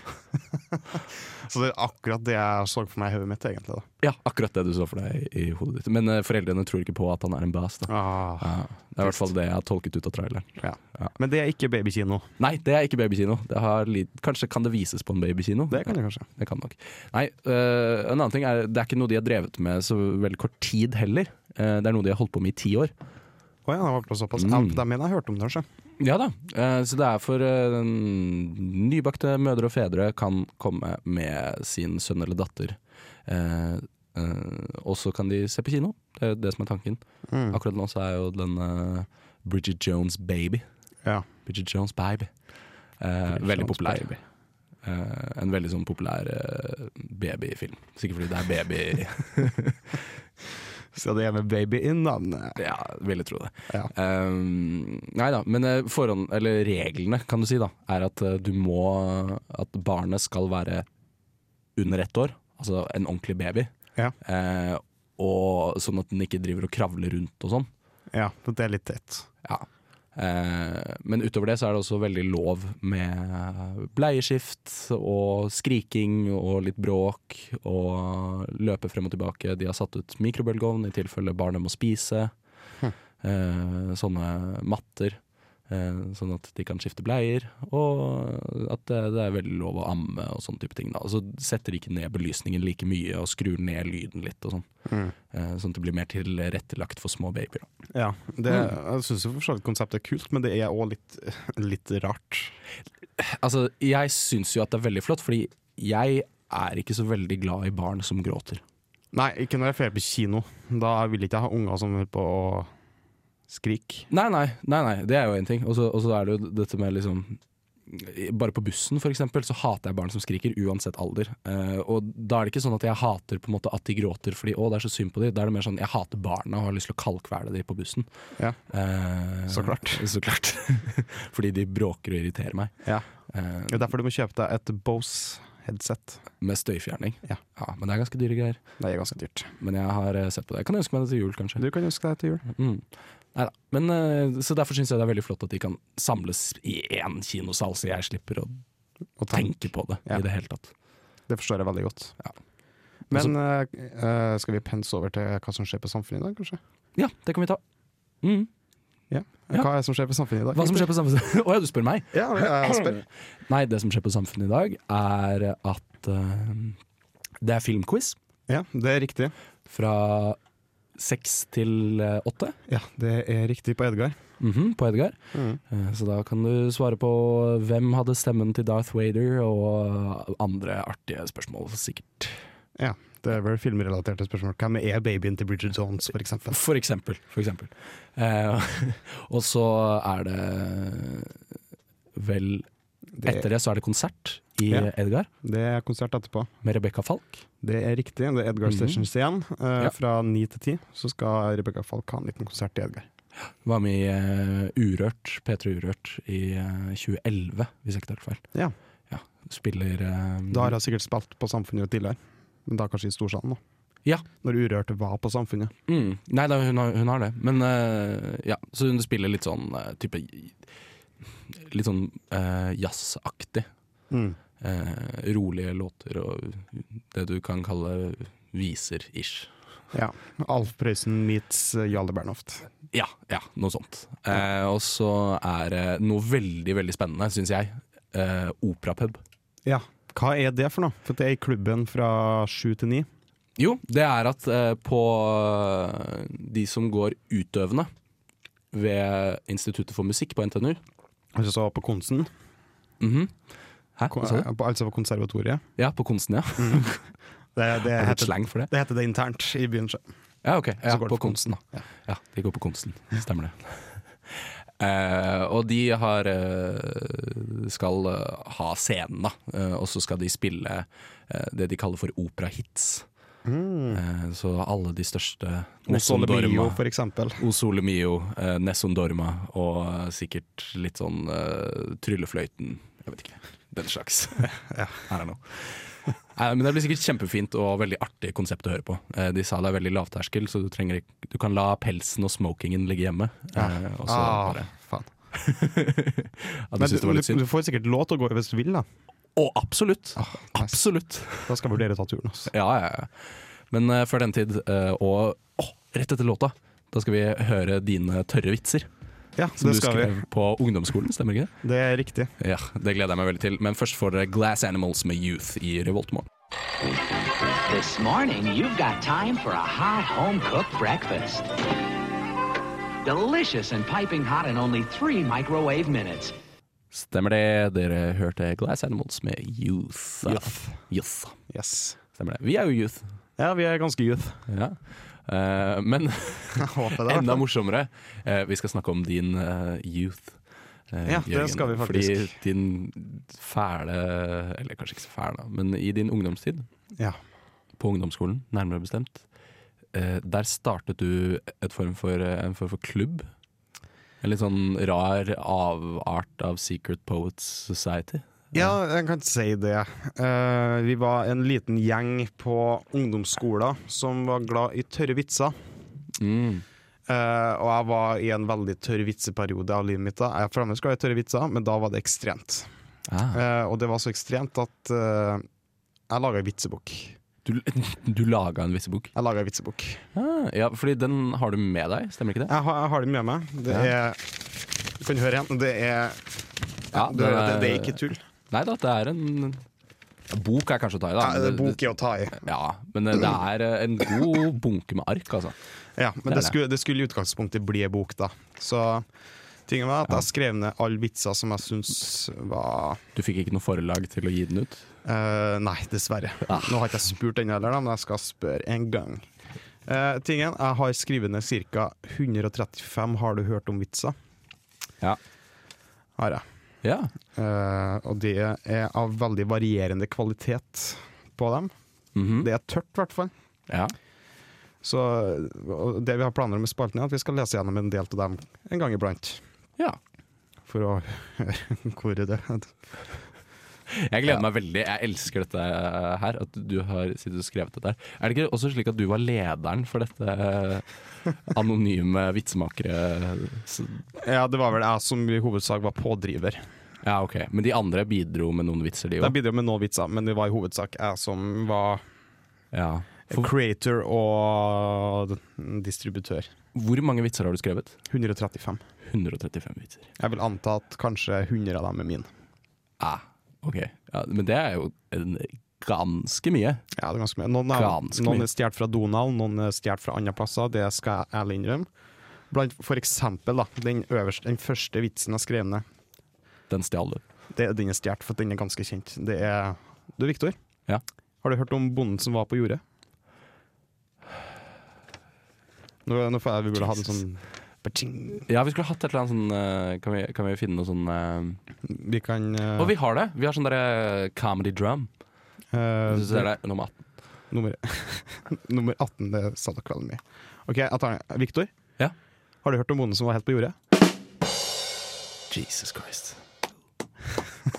Speaker 6: Så det er akkurat det jeg så for meg i hodet mitt, egentlig. Da.
Speaker 2: Ja, akkurat det du så for deg i hodet ditt. Men eh, foreldrene tror ikke på at han er en bas. Da.
Speaker 6: Ah,
Speaker 2: Ja, det er i hvert fall det jeg har tolket ut av traileren.
Speaker 6: ja. Men det er ikke babykino.
Speaker 2: Nei, det er ikke babykino. Det har li- Kanskje kan det vises på en babykino.
Speaker 6: Det kan det kanskje.
Speaker 2: Det kan nok. Nei, øh, en annen ting er det er ikke noe de har drevet med så veldig kort tid heller. Eh, det er noe de har holdt på med i ti år.
Speaker 6: Å ja, det var såpass.
Speaker 2: Mm.
Speaker 6: Ja, det mener jeg har hørt om det, kanskje.
Speaker 2: Ja da, eh, så det er for eh, nybakte mødre og fedre kan komme med sin sønn eller datter. Eh, eh, og så kan de se på kino, det er det som er tanken.
Speaker 6: Mm.
Speaker 2: Akkurat nå så er jo den eh, Bridget Jones Baby.
Speaker 6: Ja.
Speaker 2: Bridget Jones Baby. Eh, veldig
Speaker 6: Jones
Speaker 2: populær. Eh, en veldig sånn populær eh, babyfilm. Sikkert fordi det er baby
Speaker 6: Så det er med baby i navnet.
Speaker 2: Ja, ville tro det.
Speaker 6: Ja.
Speaker 2: Um, nei da, men eh, forhånd, eller reglene kan du si da, er at eh, du må At barnet skal være under ett år, altså en ordentlig baby.
Speaker 6: Ja.
Speaker 2: Eh, og sånn at den ikke driver og kravler rundt og sånn.
Speaker 6: Ja, det er litt tett.
Speaker 2: Ja. Eh, men utover det så er det også veldig lov med bleieskift og skriking og litt bråk og løpe frem og tilbake. De har satt ut mikrobølgeovn i tilfelle barnet må spise. Eh, sånne matter. eh, Sånn at de kan skifte bleier, og at det det er veldig lov å amme og sånne type ting. Da. Og så setter de ikke ned belysningen like mye og skrur ned lyden litt og sånn. Eh, Sånn at det blir mer tilrettelagt for små babyer. Da.
Speaker 6: Ja, Mm. det, Jeg syns for så vidt konseptet er kult, men det er òg litt, litt rart.
Speaker 2: Altså, jeg syns jo at det er veldig flott, fordi jeg er ikke så veldig glad i barn som gråter.
Speaker 6: Nei, ikke når jeg drar på kino. Da vil ikke jeg ha unger som holder på å skrike.
Speaker 2: Nei, nei, nei, nei det er jo én ting. Og så og så er det jo dette med liksom bare på bussen for eksempel, så hater jeg barn som skriker, uansett alder. Eh, og da er det ikke sånn at jeg hater på en måte at de gråter fordi å, det er så synd på dem. Da er det mer sånn jeg hater barna og har lyst til å kalkvele dem på bussen.
Speaker 6: Ja.
Speaker 2: Eh,
Speaker 6: Så klart.
Speaker 2: Så klart. fordi de bråker og irriterer meg.
Speaker 6: Ja.
Speaker 2: Eh,
Speaker 6: Det er derfor du må kjøpe deg et Bose-headset.
Speaker 2: med støyfjerning.
Speaker 6: Ja.
Speaker 2: ja. Men det er ganske dyre greier.
Speaker 6: Det er ganske dyrt.
Speaker 2: Men jeg har eh, sett på det. Jeg kan ønske meg det til jul, kanskje.
Speaker 6: Du kan ønske deg til jul.
Speaker 2: Mm. Neida. Men, eh, så derfor syns jeg det er veldig flott at de kan samles i én kinosal, så jeg slipper å
Speaker 6: Og tenk.
Speaker 2: tenke på det
Speaker 6: Ja.
Speaker 2: i det hele tatt.
Speaker 6: Det forstår jeg veldig godt.
Speaker 2: Ja.
Speaker 6: Men eh, eh, skal vi pense over til hva som skjer på samfunnet i dag, kanskje?
Speaker 2: Ja, det kan vi ta. Mm.
Speaker 6: Ja.
Speaker 2: Ja.
Speaker 6: Hva er det som skjer på samfunnet i dag?
Speaker 2: Hva som skjer på samfunnet Å ja, du spør meg?
Speaker 6: Ja, jeg spør.
Speaker 2: Nei, det som skjer på samfunnet i dag, er at eh, det er filmquiz
Speaker 6: Ja, det er riktig.
Speaker 2: fra seks til eh, åtte
Speaker 6: Ja, det er riktig på Edgar.
Speaker 2: mhm, på Edgar.
Speaker 6: Mhm.
Speaker 2: Eh, Så da kan du svare på hvem hadde stemmen til Darth Vader, og andre artige spørsmål, sikkert.
Speaker 6: Ja, det er vel filmrelaterte spørsmål. Hvem er babyen til Bridget Jones, for eksempel?
Speaker 2: For eksempel. For eksempel. Eh, og så er det vel Etter det så er det konsert i
Speaker 6: Ja.
Speaker 2: Edgar
Speaker 6: Det er konsert etterpå.
Speaker 2: med Rebekka Falk.
Speaker 6: Det er riktig. Det er Edgar
Speaker 2: Mhm.
Speaker 6: Stations igjen. Eh,
Speaker 2: Ja.
Speaker 6: Fra ni til ti så skal Rebekka Falk ha en liten konsert i Edgar.
Speaker 2: Var med i eh, Urørt, P3 Urørt i eh, 2011, hvis jeg ikke tar feil.
Speaker 6: Ja.
Speaker 2: Ja, Spiller eh,
Speaker 6: Da har hun sikkert spilt på Samfunnet tidligere, men da kanskje i Storsalen, da.
Speaker 2: Ja.
Speaker 6: Når Urørt var på Samfunnet.
Speaker 2: mm, Nei da, hun har, hun har det. Men eh, ja, så hun spiller litt sånn eh, type Litt sånn eh, jazzaktig. Eh, rolige låter og det du kan kalle viser-ish.
Speaker 6: Ja. Alf Prøysen meets eh, Jarle Bernhoft.
Speaker 2: Ja, ja, noe sånt. Eh, og så er det noe veldig, veldig spennende, syns jeg. Eh, Operapub.
Speaker 6: Ja. Hva er det for noe? For det er i klubben fra sju til ni.
Speaker 2: Jo, det er at eh, på eh, de som går utøvende ved Instituttet for musikk på NTNU
Speaker 6: Altså så på Konsen,
Speaker 2: Mhm. Hæ,
Speaker 6: ko-
Speaker 2: hva sa Mm. du?
Speaker 6: eh, på- altså på Konservatoriet.
Speaker 2: Ja, på Konsten, ja.
Speaker 6: Det,
Speaker 2: Er
Speaker 6: det,
Speaker 2: det et
Speaker 6: heter,
Speaker 2: slang for det?
Speaker 6: det heter det internt i byen. sjø.
Speaker 2: Ja, ok. Ja,
Speaker 6: går
Speaker 2: på
Speaker 6: det for
Speaker 2: Konsten, da. Ja. de går på Konsten. Stemmer det. Eh, og de har eh, skal eh, ha scenen, da. Eh, og så skal de spille eh, det de kaller for operahits. Eh, så alle de største
Speaker 6: Hos Ole Mio,
Speaker 2: Dorma-
Speaker 6: for eksempel.
Speaker 2: O Sole Mio, eh, Nessun Dorma og eh, sikkert litt sånn eh, Tryllefløyten. Jeg vet ikke. Den slags. Her er noe. Nei, Eh, men Det blir sikkert kjempefint og veldig artig konsept å høre på. Eh, de sa det er veldig lavterskel, så du, trenger, ikke- du kan la pelsen og smokingen ligge hjemme. Eh, og så
Speaker 6: Ah,
Speaker 2: bare,
Speaker 6: faen.
Speaker 2: ja, du
Speaker 6: Men
Speaker 2: synes det var
Speaker 6: du,
Speaker 2: litt
Speaker 6: du,
Speaker 2: synd?
Speaker 6: du får sikkert lov til å gå hvis du vil, da.
Speaker 2: Å, absolutt!
Speaker 6: nice.
Speaker 2: Absolutt!
Speaker 6: Da skal jeg vurdere å ta turen. Altså.
Speaker 2: Ja, ja, ja. Men eh, før den tid, eh, og å, rett etter låta, da skal vi høre dine tørre vitser.
Speaker 6: Ja,
Speaker 2: Som
Speaker 6: det
Speaker 2: du
Speaker 6: skal vi.
Speaker 2: skrev på ungdomsskolen, stemmer ikke det?
Speaker 6: Det er riktig.
Speaker 2: Ja, Det gleder jeg meg veldig til. Men først får dere Glass Animals med Youth i Revoltmorgen.
Speaker 8: This morning, you've got time for a hot home cooked breakfast. Delicious and piping hot in only three microwave minutes.
Speaker 2: Stemmer det? Dere hørte Glass Animals med Youth. Youth.
Speaker 6: Yes.
Speaker 2: Stemmer det. Vi er jo youth.
Speaker 6: Ja, vi er ganske youth.
Speaker 2: Ja. Eh, men
Speaker 6: Jeg håper det.
Speaker 2: enda morsommere, eh, vi skal snakke om din eh, youth. eh,
Speaker 6: Ja, det skal vi faktisk.
Speaker 2: Fordi din fæle Eller kanskje ikke så fæl, da, men i din ungdomstid,
Speaker 6: Ja.
Speaker 2: på ungdomsskolen nærmere bestemt, eh, der startet du et form for, eh, en form for klubb. En litt sånn rar avart av Secret Poets Society.
Speaker 6: Ja, jeg kan ikke si det. Eh, vi var en liten gjeng på ungdomsskolen som var glad i tørre vitser. Eh, og jeg var i en veldig tørr vitseperiode av livet mitt. da Jeg er fremdeles glad i tørre vitser, men da var det ekstremt.
Speaker 2: Ah.
Speaker 6: Eh, og det var så ekstremt at eh, jeg laga ei vitsebok.
Speaker 2: Du, du laga en vissebok?
Speaker 6: Jeg laget en vitsebok.
Speaker 2: Ah, ja, fordi den har du med deg, stemmer ikke det?
Speaker 6: Jeg har, jeg har den med meg. Det er Du kan høre igjen. Det er,
Speaker 2: Ja,
Speaker 6: du hører at det, det er ikke tull.
Speaker 2: Nei da, det er en Bok er kanskje å ta i, da.
Speaker 6: Ja,
Speaker 2: men
Speaker 6: det
Speaker 2: det-
Speaker 6: er Eh, bok i å ta i.
Speaker 2: Ja, men eh, det er en god bunke med ark, altså.
Speaker 6: Ja, men
Speaker 2: er
Speaker 6: det,
Speaker 2: det.
Speaker 6: skulle, det skulle i utgangspunktet bli en bok, da. Så tingen var at jeg skrev ned alle vitser som jeg syns var
Speaker 2: Du fikk ikke noe forlag til å gi den ut?
Speaker 6: Eh, Nei, dessverre. Nå har ikke jeg spurt den heller, da, men jeg skal spørre en gang. Eh, tingen, Jeg har skrevet ned ca. 135 Har du hørt om-vitser.
Speaker 2: Ja.
Speaker 6: Har jeg.
Speaker 2: ja.
Speaker 6: Eh, og det er av veldig varierende kvalitet på dem.
Speaker 2: Mhm.
Speaker 6: Det er tørt, i hvert fall.
Speaker 2: ja.
Speaker 6: Så og det vi har planer om i spalten, er at vi skal lese gjennom en del av dem en gang iblant.
Speaker 2: ja.
Speaker 6: For å høre hvor er det
Speaker 2: Jeg gleder meg veldig. Jeg elsker dette eh, her, at du har sittet og skrevet dette. her. Er det ikke også slik at du var lederen for dette eh, anonyme vitsemakere? S-
Speaker 6: Ja, det var vel jeg som i hovedsak var pådriver.
Speaker 2: Ja, ok. Men de andre bidro med noen vitser, de
Speaker 6: Jeg
Speaker 2: òg?
Speaker 6: bidro med noen vitser, men det var i hovedsak jeg som var
Speaker 2: Ja. For
Speaker 6: creator og distributør.
Speaker 2: hvor mange vitser har du skrevet?
Speaker 6: 135.
Speaker 2: 135 vitser.
Speaker 6: Jeg vil anta at kanskje 100 av dem er mine.
Speaker 2: Ah, ok. Ja, men det er jo en, ganske mye.
Speaker 6: Ja, det er ganske mye. Noen er,
Speaker 2: Ganske
Speaker 6: noen
Speaker 2: mye.
Speaker 6: er stjålet fra Donald, noen er stjålet fra andre plasser. Det skal jeg ærlig innrømme. Blant, for eksempel da, den, øverste, den første vitsen jeg skrev ned,
Speaker 2: Den stjal du.
Speaker 6: det, den er stjålet, for den er ganske kjent. Det er Du, Viktor,
Speaker 2: Ja.
Speaker 6: har du hørt om bonden som var på jordet? Nå, nå får jeg, vi burde hatt en sånn Ba-ting.
Speaker 2: Ja, vi skulle hatt et eller annet sånn eh, Kan vi, kan vi finne noe sånn eh,
Speaker 6: Vi kan eh,
Speaker 2: Å, vi har det! Vi har sånn derre comedy drum.
Speaker 6: eh,
Speaker 2: Hvis du ser det, nummer 18.
Speaker 6: nummer, nummer 18, det sa dere veldig mye. Ok, jeg tar den. Victor,
Speaker 2: Ja.
Speaker 6: har du hørt om bonden som var helt på jordet?
Speaker 2: Jesus Christ.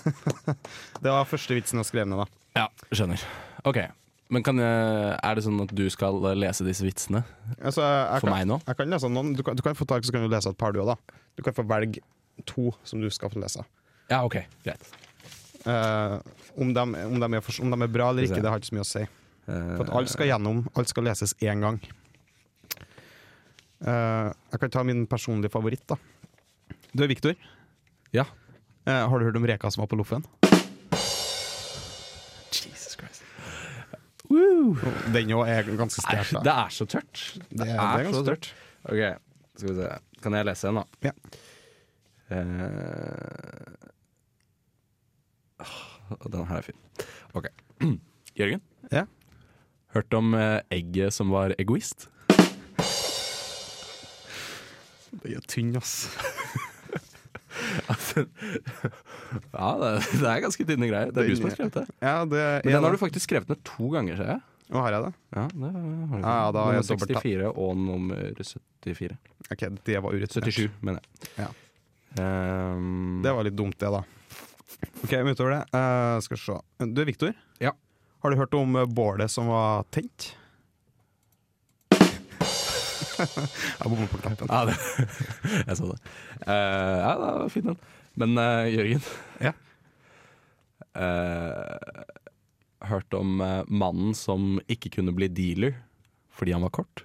Speaker 6: Det var første vitsen jeg skrev ned, da.
Speaker 2: Ja, skjønner. Ok, men kan, eh, er det sånn at du skal eh, lese disse vitsene?
Speaker 6: Altså, jeg
Speaker 2: For
Speaker 6: kan,
Speaker 2: meg nå?
Speaker 6: Jeg kan lese noen. Du kan, du kan få tak, så kan du lese et par, du òg, da. Du kan få velge to som du skal få lese.
Speaker 2: Ja, ok, greit.
Speaker 6: Eh, om, de, om, de er for, om de er bra eller
Speaker 2: Skal vi se. Eh,
Speaker 6: ikke, det har ikke så mye å si. For at alt skal gjennom, alt skal leses én gang. Eh, jeg kan ta min personlige favoritt, da. Du, Victor,
Speaker 2: Ja.
Speaker 6: eh, har du hørt om reka som var på loffen?
Speaker 2: Jesus Christ.
Speaker 6: Den òg er ganske sterk.
Speaker 2: Det er så tørt.
Speaker 6: Det er- det er ganske tørt.
Speaker 2: Ok, skal vi se. Kan jeg lese en, da?
Speaker 6: Ja.
Speaker 2: Eh, åh, den her er fin. Ok. Jørgen,
Speaker 6: Ja.
Speaker 2: hørt om eh, egget som var egoist?
Speaker 6: Den er tynn, ass.
Speaker 2: Ja, det, det er ganske tynne greier. Det er du som har skrevet det.
Speaker 6: Ja, det er
Speaker 2: Men den har du faktisk skrevet ned to ganger, ser jeg.
Speaker 6: Nå har jeg det.
Speaker 2: Ja, det har du.
Speaker 6: Ja, ja, da har jeg
Speaker 2: nummer
Speaker 6: dobbelt, da.
Speaker 2: 64 og nummer 74.
Speaker 6: Ok, det var urettferdig.
Speaker 2: 77, mener jeg.
Speaker 6: Ja.
Speaker 2: Ehm,
Speaker 6: Det var litt dumt, det, da. Ok, men utover det, eh, skal vi se. Du, Viktor?
Speaker 2: Ja.
Speaker 6: Har du hørt om eh, bålet som var tent? jeg bommer på knappen.
Speaker 2: ja, det, jeg så det. Eh, ja, det var fin den. Men eh, Jørgen
Speaker 6: Ja.
Speaker 2: Eh, Hørt om eh, mannen som ikke kunne bli dealer fordi han var kort?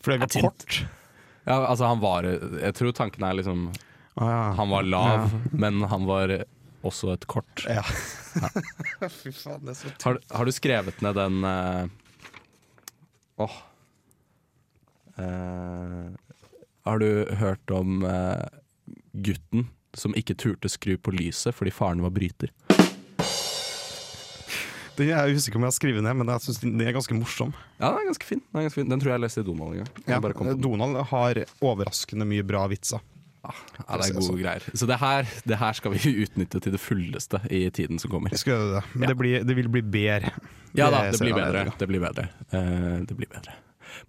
Speaker 6: For det var
Speaker 2: Jeg er
Speaker 6: kort.
Speaker 2: Ja, altså han var Jeg tror tanken er liksom
Speaker 6: Ah,
Speaker 2: Han var lav, men han var også et kort.
Speaker 6: ja. ja. Fy faen, det er så
Speaker 2: Har, har du skrevet ned den eh, Åh Eh, Har du hørt om eh, gutten som ikke turte skru på lyset fordi faren var bryter?
Speaker 6: Den, jeg husker ikke om jeg har skrevet ned, men jeg syns den er ganske morsom.
Speaker 2: Ja, den er ganske fin. Den, er ganske fin. den tror jeg jeg leste i Donald en gang.
Speaker 6: Ja,
Speaker 2: Jeg bare kom på den.
Speaker 6: Donald har overraskende mye bra vitser.
Speaker 2: ja, det er
Speaker 6: sånn.
Speaker 2: gode greier. Så det her, det her skal vi utnytte til det fulleste i tiden som kommer.
Speaker 6: Skal gjøre det, men det, blir, det vil bli bedre.
Speaker 2: Ja da, det
Speaker 6: ser
Speaker 2: blir
Speaker 6: jeg allerede.
Speaker 2: bedre. Det blir bedre. Eh, det blir bedre.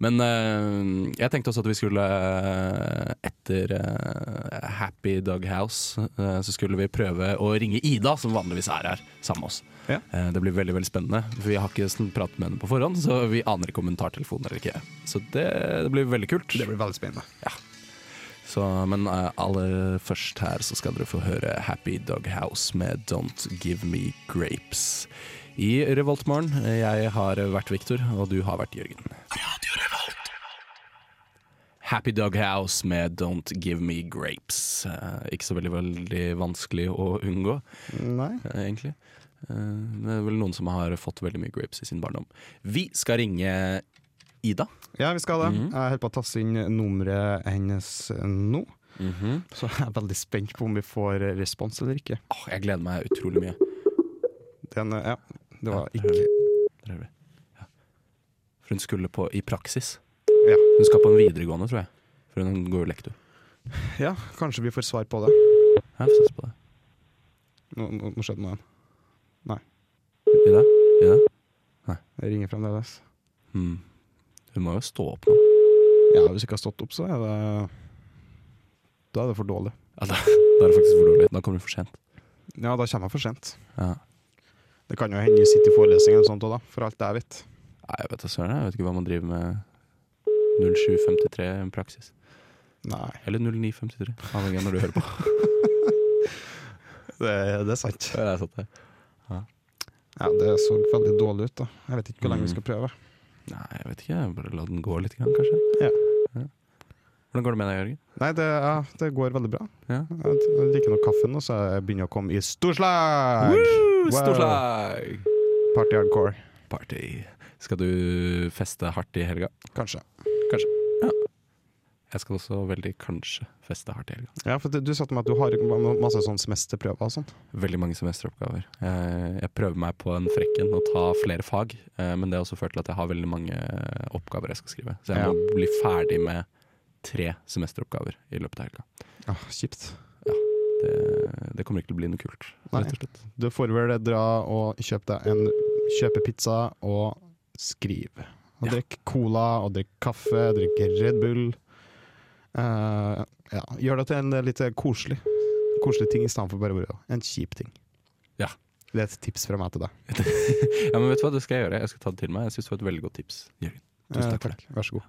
Speaker 2: Men eh, jeg tenkte også at vi skulle eh, etter eh, Happy Dog House, eh, så skulle vi prøve å ringe Ida, som vanligvis er her sammen med oss.
Speaker 6: Ja.
Speaker 2: Eh, det blir veldig veldig spennende. for Vi har ikke sn- pratet med henne på forhånd, så vi aner ikke om hun tar telefonen eller ikke. Så det, det blir veldig kult.
Speaker 6: Det blir veldig spennende.
Speaker 2: Så, men eh, aller først her så skal dere få høre Happy Dog House med Don't Give Me Grapes. I Revoltmorgen, eh, jeg har vært Victor, og du har vært Jørgen. Happy Dog House med Don't Give Me Grapes. Eh, ikke så veldig, veldig vanskelig å unngå
Speaker 6: Nei.
Speaker 2: eh, egentlig. Eh, Det er vel noen som har fått veldig mye grapes i sin barndom. Vi skal ringe Ida.
Speaker 6: Ja, vi skal det.
Speaker 2: Mhm.
Speaker 6: Jeg holder på å tasse inn nummeret hennes nå.
Speaker 2: Mhm.
Speaker 6: Så jeg er veldig spent på om vi får respons eller ikke.
Speaker 2: Åh, jeg gleder meg utrolig mye.
Speaker 6: Den, ja, det var
Speaker 2: Ja,
Speaker 6: ikke
Speaker 2: Der er vi. Ja. For hun skulle på i praksis.
Speaker 6: Ja.
Speaker 2: Hun skal på en videregående, tror jeg. For hun går jo lektor.
Speaker 6: Ja, kanskje vi får svar på det.
Speaker 2: Ja, vi får satse på det.
Speaker 6: Nå, nå, nå skjedde noe igjen.
Speaker 2: Ida? Ida?
Speaker 6: Jeg ringer fremdeles.
Speaker 2: Hmm. Hun må jo stå opp nå.
Speaker 6: Ja, hvis jeg ikke har stått opp, så er det Da er det for dårlig.
Speaker 2: Ja, da, da er det faktisk for dårlig. Da kommer hun for sent.
Speaker 6: Ja, da kommer jeg for sent.
Speaker 2: Ja.
Speaker 6: Det kan jo hende vi sitter i forelesning eller sånt òg, da. For alt jeg vet.
Speaker 2: Nei, jeg vet da søren. Jeg vet ikke hva man driver med 0753 i praksis.
Speaker 6: Nei,
Speaker 2: Eller 0953, avhengig av når du hører på.
Speaker 6: det, det er sant.
Speaker 2: Ja, jeg satt der.
Speaker 6: Ja, Det så veldig dårlig ut, da. Jeg vet ikke hvor lenge vi skal prøve.
Speaker 2: Nei, jeg vet ikke. Bare la den gå litt, grann, kanskje.
Speaker 6: Ja.
Speaker 2: Ja. Hvordan går det med deg, Jørgen?
Speaker 6: Nei, det, ja, det går veldig bra.
Speaker 2: Ja.
Speaker 6: Jeg jeg liker nok kaffen, og så jeg begynner jeg å komme i storslag! Wow!
Speaker 2: Storslag!
Speaker 6: Party hardcore,
Speaker 2: Party. Skal du feste hardt i helga?
Speaker 6: kanskje.
Speaker 2: Jeg skal også veldig kanskje feste hardt i helga.
Speaker 6: Ja, for Du, du sa til meg at du har ma- masse sånn semesterprøver og sånt.
Speaker 2: Veldig mange semesteroppgaver. Jeg, jeg prøver meg på en frekk en å ta flere fag, eh, men det har også ført til at jeg har veldig mange eh, oppgaver jeg skal skrive. Så jeg må bli ferdig med tre semesteroppgaver i løpet av helga.
Speaker 6: Ja, Ah, Kjipt.
Speaker 2: Det, det kommer ikke til å bli noe kult.
Speaker 6: Nei.
Speaker 2: rett og slett.
Speaker 6: Du får vel dra og kjøpe deg en kjøpe pizza og skrive. Og
Speaker 2: Ja.
Speaker 6: drikk cola, og drikk kaffe, drikk Red Bull. Eh, ja, gjør det til en eh, litt koselig Koselig ting istedenfor bare å være en kjip ting.
Speaker 2: Ja.
Speaker 6: Det er et tips fra meg til deg.
Speaker 2: Ja, men vet du hva, det skal jeg gjøre. Jeg skal ta det til meg. Jeg synes det var et veldig godt tips. Jørgen. Tusen
Speaker 6: Eh,
Speaker 2: takk for det.
Speaker 6: Vær så god.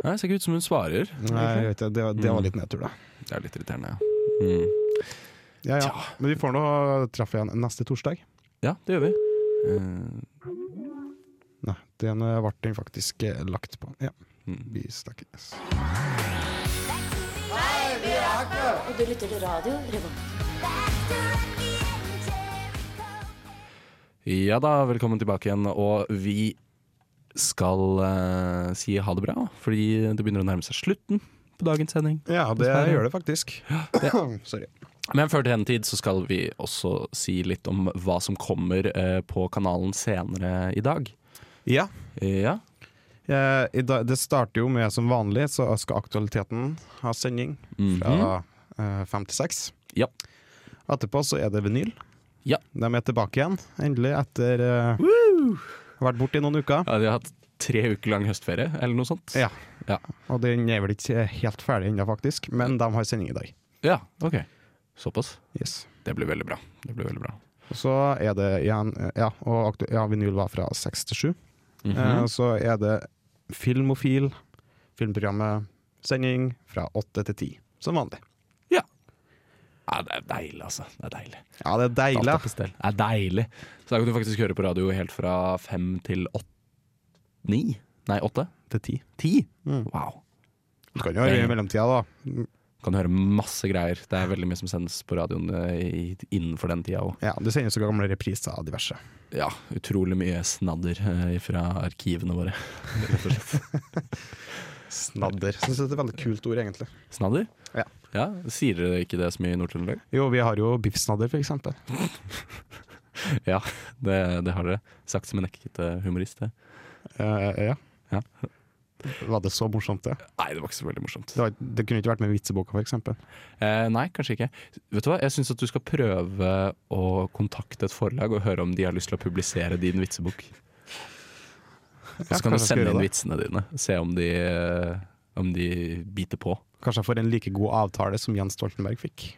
Speaker 2: Nei, det ser ikke ut som hun svarer.
Speaker 6: Nei, jeg vet, ikke, det, det var
Speaker 2: Mm.
Speaker 6: litt nedtur, da.
Speaker 2: Det er litt irriterende, ja. Mm.
Speaker 6: Ja, ja.
Speaker 2: Tja.
Speaker 6: Men vi får nå traff igjen neste torsdag.
Speaker 2: Ja, det gjør vi. Eh,
Speaker 6: Nei, den eh, ble den faktisk eh, lagt på. Ja,
Speaker 2: Mm.
Speaker 6: vi snakkes.
Speaker 9: Og du lytter til radio Revolt.
Speaker 2: ja da, velkommen tilbake igjen. Og vi skal eh, si ha det bra, fordi det begynner å nærme seg slutten på dagens sending.
Speaker 6: Ja, det
Speaker 2: Dessverre.
Speaker 6: gjør det faktisk. Sorry.
Speaker 2: Men før den tid så skal vi også si litt om hva som kommer eh, på kanalen senere i dag.
Speaker 6: Ja,
Speaker 2: Ja,
Speaker 6: Eh, i dag- det starter jo med som vanlig, så skal Aktualiteten ha sending
Speaker 2: Mhm.
Speaker 6: fra eh, fem til seks.
Speaker 2: Ja.
Speaker 6: Etterpå så er det vinyl.
Speaker 2: Ja.
Speaker 6: De er tilbake igjen, endelig, etter eh, har vært borte i noen uker.
Speaker 2: ja de har hatt tre uker lang høstferie, eller noe sånt.
Speaker 6: Ja.
Speaker 2: Ja.
Speaker 6: Og den er vel ikke helt ferdig ennå, faktisk, men de har sending i dag.
Speaker 2: Ja, ok. Såpass.
Speaker 6: Yes.
Speaker 2: Det blir veldig bra. Det blir veldig bra.
Speaker 6: Og Så er det igjen eh, Ja, og aktu ja, vinyl var fra seks til sju.
Speaker 2: Mhm.
Speaker 6: Eh, og Så er det Filmofil, filmprogrammet, sending fra åtte til ti, som vanlig.
Speaker 2: Ja, det er deilig, altså. Det er deilig.
Speaker 6: Ja, det er deilig.
Speaker 2: Alt er på stell. Det er deilig. Så da kan du faktisk høre på radio helt fra fem til åtte Ni? Nei, åtte?
Speaker 6: Til ti.
Speaker 2: Ti?
Speaker 6: Mm.
Speaker 2: Wow.
Speaker 6: Du kan jo høre i mellomtida, da.
Speaker 2: Kan høre masse greier. Det er veldig mye som sendes på radioen eh, i, innenfor den tida òg.
Speaker 6: Ja, Det sendes jo gamle repriser av diverse.
Speaker 2: Ja, utrolig mye snadder eh, fra arkivene våre. Rett og slett.
Speaker 6: Snadder. Jeg synes det er et veldig kult ord, egentlig.
Speaker 2: Snadder?
Speaker 6: Ja.
Speaker 2: ja. Sier dere ikke det så mye i Nord-Trøndelag?
Speaker 6: Jo, vi har jo biffsnadder, for eksempel.
Speaker 2: Ja, det, det har dere. Sagt som en ekte humorist, det.
Speaker 6: Eh, ja.
Speaker 2: Ja.
Speaker 6: Var det så morsomt, det?
Speaker 2: Nei, det var ikke så veldig morsomt.
Speaker 6: Det, var, det kunne ikke vært med i vitseboka, for eksempel.
Speaker 2: Eh, nei, kanskje ikke. Vet du hva? Jeg syns at du skal prøve å kontakte et forlag og høre om de har lyst til å publisere din vitsebok. Og så kan du
Speaker 6: kanskje jeg skal
Speaker 2: sende
Speaker 6: gjøre
Speaker 2: inn
Speaker 6: det.
Speaker 2: vitsene dine. Se om de, eh, om de biter på.
Speaker 6: Kanskje jeg får en like god avtale som Jens Stoltenberg fikk.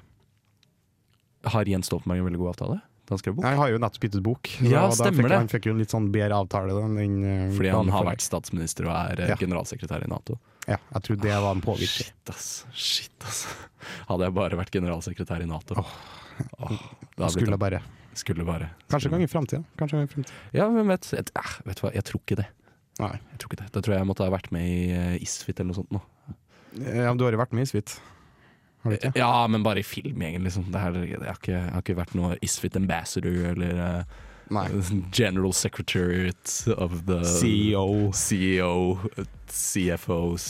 Speaker 2: Har Jens Stoltenberg en veldig god avtale? Da han skrev bok?
Speaker 6: Jeg har jo nettopp byttet bok. så
Speaker 2: Ja,
Speaker 6: da
Speaker 2: stemmer
Speaker 6: fikk,
Speaker 2: det.
Speaker 6: Han fikk jo en litt sånn bedre avtale da, enn eh,
Speaker 2: Fordi han
Speaker 6: vanlig
Speaker 2: har
Speaker 6: forlag.
Speaker 2: vært statsminister og er eh,
Speaker 6: Ja.
Speaker 2: generalsekretær i Nato.
Speaker 6: Ja, jeg tror det var en påvirkning.
Speaker 2: Shit, ass. Shit, ass. Hadde jeg bare vært generalsekretær i Nato. Åh, det hadde blitt
Speaker 6: Skulle
Speaker 2: en-
Speaker 6: bare.
Speaker 2: skulle bare.
Speaker 6: Kanskje en gang i framtida. Kanskje en gang i fremtiden.
Speaker 2: Ja, hvem vet. Jeg, eh, vet du hva, jeg tror ikke det.
Speaker 6: Nei.
Speaker 2: Jeg tror ikke det. Da tror jeg jeg måtte ha vært med i eh, Isfit eller noe sånt. Nå.
Speaker 6: Ja, men du har jo vært med i Svit. Har du ikke?
Speaker 2: Ja, men bare i film, egentlig. Liksom. Det her, jeg, har ikke, jeg har ikke vært noe Isfit ambassador eller eh,
Speaker 6: Nei. E
Speaker 2: General Secretariat of the eh, E
Speaker 6: CEO.
Speaker 2: CEO, CFOs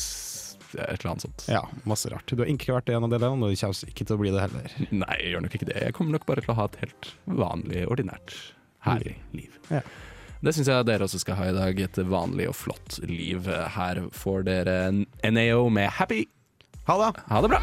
Speaker 2: Et eller annet sånt.
Speaker 6: Ja, masse rart. Du har ikke vært en av delene, og du kommer ikke til å bli det heller.
Speaker 2: Nei, jeg gjør nok ikke det. Jeg kommer nok bare til å ha et helt vanlig, ordinært, herlig liv.
Speaker 6: Ja.
Speaker 2: Det syns jeg dere også skal ha i dag. Et vanlig og flott liv. Her får dere NAO med 'Happy'.
Speaker 6: Ha det!
Speaker 2: Ha det bra!